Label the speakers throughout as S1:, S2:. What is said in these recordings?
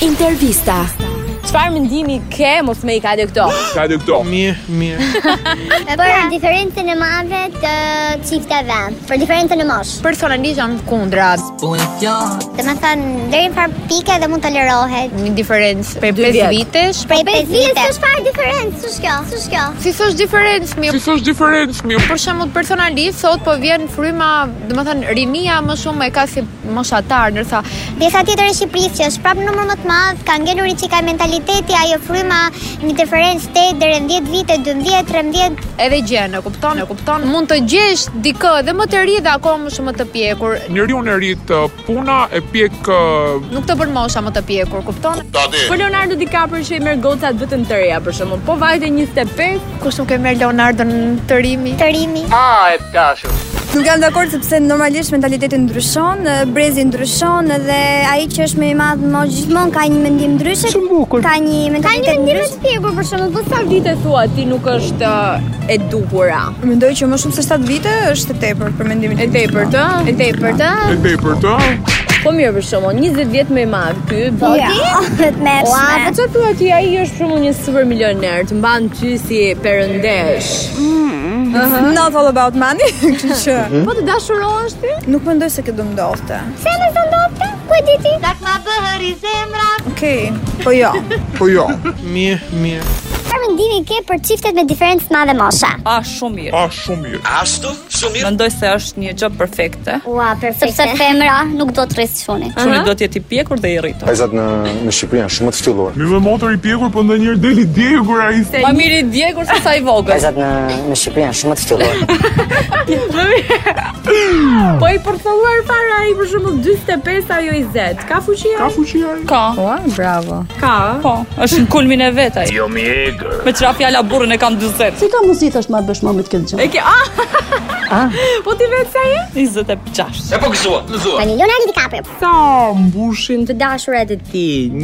S1: Intervista.
S2: Çfarë mendimi ke mos me i ka dhe këto?
S3: Ka edhe këto.
S4: Mirë, mirë.
S5: Për diferencën e madhe të çifteve, për diferencën e moshë.
S6: Personalisht jam kundra.
S5: Dhe me thënë, deri në farë pike dhe mund tolerohet.
S6: Një diferencë për
S2: Dy
S6: 5
S2: vjet.
S6: vitesh. Po
S5: Prej 5 vite. Së shfarë diferencë, së shkjo, së shkjo.
S6: Si thosh diferencë mi?
S3: Së është diferencë mirë.
S6: Për shembull personalisht sot po vjen fryma, domethënë rinia më shumë e ka si moshatar, ndërsa
S5: Pjesa tjetër e Shqipërisë që është prapë numër më të madh, ka ngelur i çika mentaliteti, ajo fryma një diferencë 8 deri në 10 vite, 12, 13.
S6: edhe gjen, e kupton, e kupton. Mund të gjesh dikë dhe më të ri dhe akoma më shumë më të pjekur.
S3: Njeriu në rit uh, puna e pjek uh,
S6: Nuk të bën mosha më të pjekur, kupton?
S2: Për Po Leonardo DiCaprio që i merr gocat vetëm të reja për shembull, po vajte 25,
S6: Kush nuk e merr Leonardon të rimi?
S5: Të rimi.
S7: Nuk jam dakord sepse normalisht mentaliteti ndryshon, e, brezi ndryshon dhe ai që është më i madh më gjithmonë ka një mendim ndryshe. Ka një
S5: Ka një
S7: mentalitet
S5: mendim
S7: ndryshe.
S5: të pjekur për shembull, po sa
S2: sa vite thua ti nuk është uh, e dukura?
S7: Mendoj që më shumë se 7 vite është e tepërt për mendimin
S2: E
S7: tim.
S2: tepërt, ë? E tepërt, ë?
S3: e dej për të.
S2: Po mirë për shembull, 20 vjet më i madh ky, po
S7: Ja,
S2: Ua, po
S7: të mërshme.
S2: çfarë thua ti? Ai është për mua një super milioner, të mban ty si perëndesh.
S7: Not all about money, kështu që
S2: Po të dashurohesh ti?
S7: nuk mendoj se këtë do ndodhte.
S5: po pse më thon dopte? Ku e di ti? Tak ma bëhëri zemra.
S7: Okej, po jo.
S3: Po jo.
S4: Mirë, mirë.
S5: Çfarë mendimi ke për çiftet me diferencë të madhe moshe?
S8: A, shumë mirë.
S3: A shumë mirë.
S8: Mendoj se është një gjë perfekte.
S5: Ua, perfekte. Sepse femra nuk do të rrisë shunin.
S8: Çuni do të jetë i pjekur dhe i rritur.
S9: Vajzat në në Shqipëri janë shumë të ftylluara.
S3: Mi me motor i pjekur, po ndonjëherë deli djegur ai.
S8: Ma mirë i djegur se sa i vogël.
S10: Vajzat në në Shqipëri janë shumë të ftylluara.
S2: Po i përtholluar para ai për shembull 45 ajo 20. Ka fuqi
S3: Ka
S2: ai?
S3: fuqi ai.
S8: Ka,
S2: Ka.
S8: po, është në kulmin e vet ai. Jo mi egër. Me çfarë fjala burrin e kam 40.
S10: Si ka mundësi thash ma bësh më me këtë gjë?
S2: E ke ah. Po ti vetë sa je?
S8: 26.
S5: Tani Leonardo DiCaprio.
S11: Sa mbushin
S2: Të dashurat e ti.
S11: 20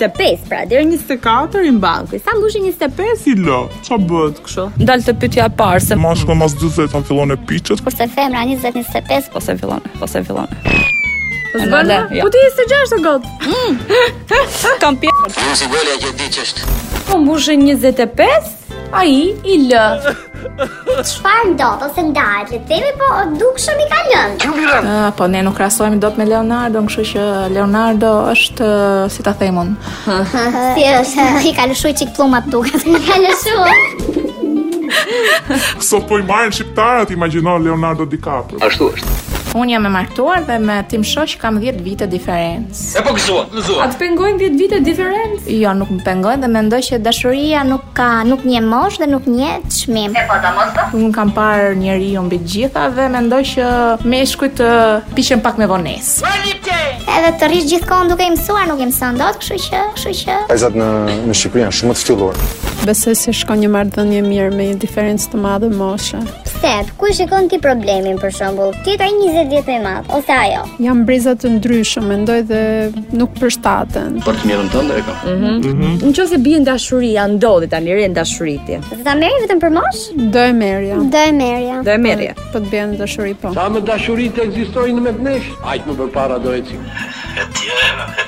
S2: 25 pra, deri 24 i mban. Sa mbushin 25?
S3: Silo, ç'a bëhet kështu?
S8: Ndal të pyetja e parë se
S3: Mashkull mas 40 an fillon e piçet.
S5: Kurse femra 20-25
S8: po se fillon, po se fillon. E
S2: Po s'bën?
S8: nale, ja. Mm.
S2: Po ti 26 o got.
S8: Kam pjekur.
S2: Po mbushin 25? Ai i lë.
S5: Çfarë ndodh ose ndahet? Le të themi po dukshëm i ka lënë.
S6: po ne nuk krahasohemi dot me Leonardo, kështu që Leonardo është eh, si ta them unë.
S5: Si është? I ka lëshuar çik pllumat duket. I ka lëshuar.
S3: Sot po i marrin shqiptarat, imagjino Leonardo DiCaprio.
S6: Unë jam e martuar dhe me tim shoq kam 10 vite diferencë.
S2: A të pengojnë 10 vite diferencë?
S6: Jo, nuk më pengoj dhe mendoj që dashuria nuk ka
S5: Nuk
S6: nuk
S5: një mosh dhe nuk një çmim.
S6: unë kam parë njeriu mbi të gjitha dhe mendoj që meshkujt të piqen pak me vonesë.
S5: Edhe të rrish gjithkohon duke i mësuar nuk i mëson dot, kështu që, kështu që
S9: Vajzat në në Shqipëri janë shumë të ftylluara.
S6: Besoj se shkon një marrëdhënie mirë me një diferencë të madhe moshe.
S5: pse ku e shikon ti problemin për shembull? Ti ka 20 vjet më i madh ose ajo?
S6: Jam breza të ndryshëm, mendoj dhe nuk përshtaten.
S2: Në qoftë se bien dashuria, ndodhi tani re dashuriti.
S5: Do ta merri vetëm për mosh?
S6: Do e merja,
S5: Do e merrja.
S2: Do e merrje.
S6: po të bjen dashuri po.
S11: Sa më dashurit ekzistojnë me të nesh Ajtë më përpara do e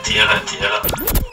S11: cikë